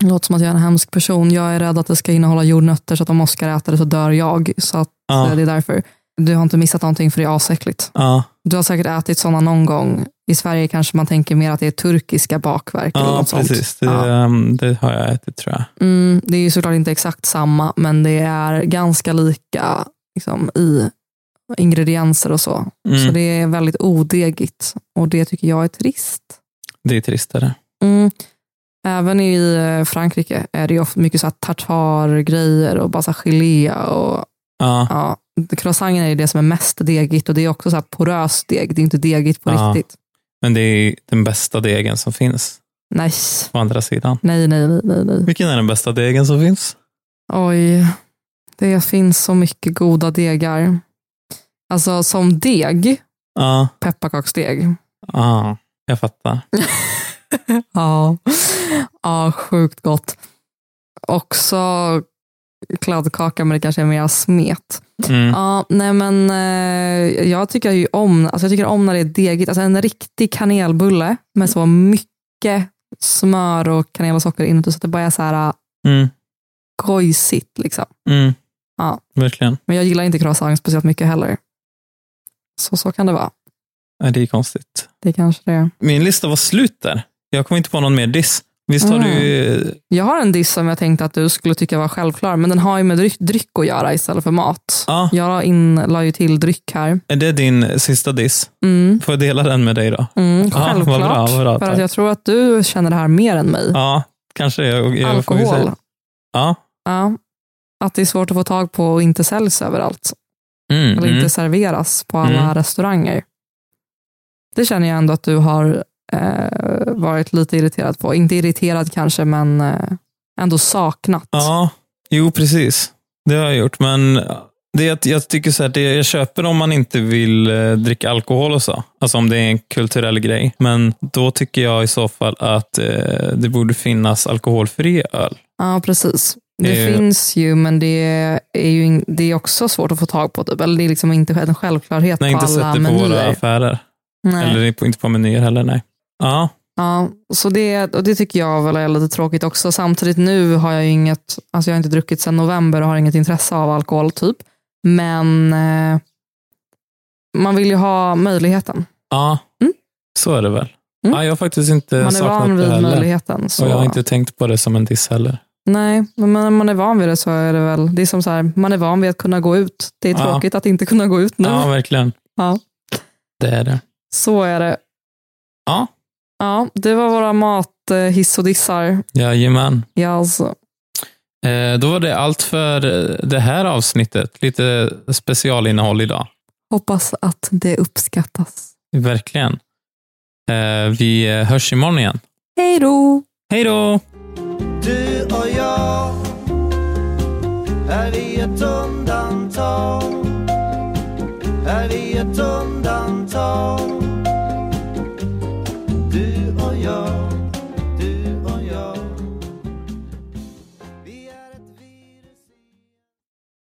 [SPEAKER 1] Det låter som att jag är en hemsk person. Jag är rädd att det ska innehålla jordnötter så att om Oskar äter det så dör jag. Så att eh,
[SPEAKER 2] ja,
[SPEAKER 1] det är därför. Du har inte missat någonting för det är asäckligt.
[SPEAKER 2] ja,
[SPEAKER 1] Du har säkert ätit sådana någon gång. I Sverige kanske man tänker mer att det är turkiska bakverk. eller
[SPEAKER 2] ja
[SPEAKER 1] något Sånt.
[SPEAKER 2] precis. Det,
[SPEAKER 1] Ja.
[SPEAKER 2] ehm, det har jag ätit tror jag.
[SPEAKER 1] Mm, det är ju såklart inte exakt samma, men det är ganska lika liksom, i ingredienser och så.
[SPEAKER 2] Mm,
[SPEAKER 1] Så
[SPEAKER 2] det...
[SPEAKER 1] det är väldigt odegigt och det tycker jag är trist.
[SPEAKER 2] är tristare.
[SPEAKER 1] Mm. Även i eh, Frankrike är det ju ofta mycket så här tartargrejer och bara så här gelé. Och,
[SPEAKER 2] Ja,
[SPEAKER 1] ja, croissanten är ju det som är mest degigt och det är också så här poröst deg. Det är inte degigt på
[SPEAKER 2] Ja.
[SPEAKER 1] riktigt.
[SPEAKER 2] men det är den bästa degen som finns,
[SPEAKER 1] Nej.
[SPEAKER 2] på andra sidan.
[SPEAKER 1] Nej, nej, nej, nej, nej.
[SPEAKER 2] Vilken är den bästa degen som finns?
[SPEAKER 1] Oj, det finns så mycket goda degar. Alltså som deg,
[SPEAKER 2] Ja,
[SPEAKER 1] pepparkaksdeg.
[SPEAKER 2] ja, jag fattar.
[SPEAKER 1] Ja, ja sjukt gott. Också kladdkaka, men det kanske är mer smet.
[SPEAKER 2] Mm.
[SPEAKER 1] Ja, nej men eh, jag tycker ju om, alltså jag tycker om när det är degigt. Alltså en riktig kanelbulle med så mycket smör och kanel och socker inuti så att det bara är så här eh,
[SPEAKER 2] Mm.
[SPEAKER 1] gojsigt liksom.
[SPEAKER 2] Mm.
[SPEAKER 1] Ja.
[SPEAKER 2] Verkligen.
[SPEAKER 1] Men jag gillar inte croissant speciellt mycket heller. Så så kan det vara.
[SPEAKER 2] Ja, det är konstigt.
[SPEAKER 1] Det kanske det är.
[SPEAKER 2] Min lista var slut där. Jag kommer inte på någon mer diss. Visst har
[SPEAKER 1] Mm.
[SPEAKER 2] du...
[SPEAKER 1] Jag har en diss som jag tänkte att du skulle tycka var självklar, men den har ju med dryck, dryck att göra istället för mat.
[SPEAKER 2] Ja,
[SPEAKER 1] Jag la in, la ju till dryck här.
[SPEAKER 2] är det din sista diss?
[SPEAKER 1] Mm,
[SPEAKER 2] Får jag dela den med dig då?
[SPEAKER 1] mm,
[SPEAKER 2] Ja, vad
[SPEAKER 1] självklart.
[SPEAKER 2] bra, vad bra,
[SPEAKER 1] för att
[SPEAKER 2] tack.
[SPEAKER 1] jag tror att du känner det här mer än mig.
[SPEAKER 2] Ja, kanske. Jag, jag får ju
[SPEAKER 1] Alkohol.
[SPEAKER 2] säga- Ja.
[SPEAKER 1] Ja. Att det är svårt att få tag på och inte säljs överallt.
[SPEAKER 2] Mm,
[SPEAKER 1] Eller
[SPEAKER 2] mm.
[SPEAKER 1] inte serveras på alla
[SPEAKER 2] Mm.
[SPEAKER 1] restauranger. Det känner jag ändå att du har eh, varit lite irriterad på. Inte irriterad kanske, men eh, ändå saknat.
[SPEAKER 2] Ja, jo precis. Det har jag gjort. Men det är att jag tycker så här, det jag köper om man inte vill eh, dricka alkohol och så. Alltså om det är en kulturell grej. Men då tycker jag i så fall att eh, det borde finnas alkoholfri öl.
[SPEAKER 1] Ja, precis. Det
[SPEAKER 2] Eh.
[SPEAKER 1] finns ju, men det är ju in, det är också svårt att få tag på. Typ. Eller det är liksom inte en självklarhet på
[SPEAKER 2] Nej, inte
[SPEAKER 1] alla
[SPEAKER 2] sett det på våra
[SPEAKER 1] menyer.
[SPEAKER 2] affärer.
[SPEAKER 1] Nej.
[SPEAKER 2] Eller på- inte på menyer heller, nej. Ja,
[SPEAKER 1] Ja, så det, och det tycker jag väl är lite tråkigt också. Samtidigt nu har jag ju inget, alltså jag har inte druckit sedan november och har inget intresse av alkohol typ. Men eh, man vill ju ha möjligheten.
[SPEAKER 2] ja.
[SPEAKER 1] Mm.
[SPEAKER 2] så är det väl.
[SPEAKER 1] Mm.
[SPEAKER 2] Ja, jag har faktiskt inte
[SPEAKER 1] Man är
[SPEAKER 2] saknat
[SPEAKER 1] van
[SPEAKER 2] det
[SPEAKER 1] vid
[SPEAKER 2] heller.
[SPEAKER 1] möjligheten. Så.
[SPEAKER 2] Och jag har inte tänkt på det som en diss heller.
[SPEAKER 1] Nej, men när man är van vid det så är det väl, det är som så här, man är van vid att kunna gå ut. Det är
[SPEAKER 2] Ja.
[SPEAKER 1] tråkigt att inte kunna gå ut nu.
[SPEAKER 2] Ja, verkligen.
[SPEAKER 1] Ja.
[SPEAKER 2] Det är det.
[SPEAKER 1] Så är det.
[SPEAKER 2] Ja.
[SPEAKER 1] Ja, det var våra mat, eh, hiss och dissar.
[SPEAKER 2] Jajamän.
[SPEAKER 1] Ja, alltså.
[SPEAKER 2] Eh, Då var det allt för eh, det här avsnittet. Lite specialinnehåll idag.
[SPEAKER 1] Hoppas att det uppskattas.
[SPEAKER 2] Verkligen. Eh, Vi eh, hörs imorgon igen.
[SPEAKER 1] Hej då!
[SPEAKER 2] Hej då!
[SPEAKER 3] Du och jag Är vi ett undantag? Är vi ett undantag?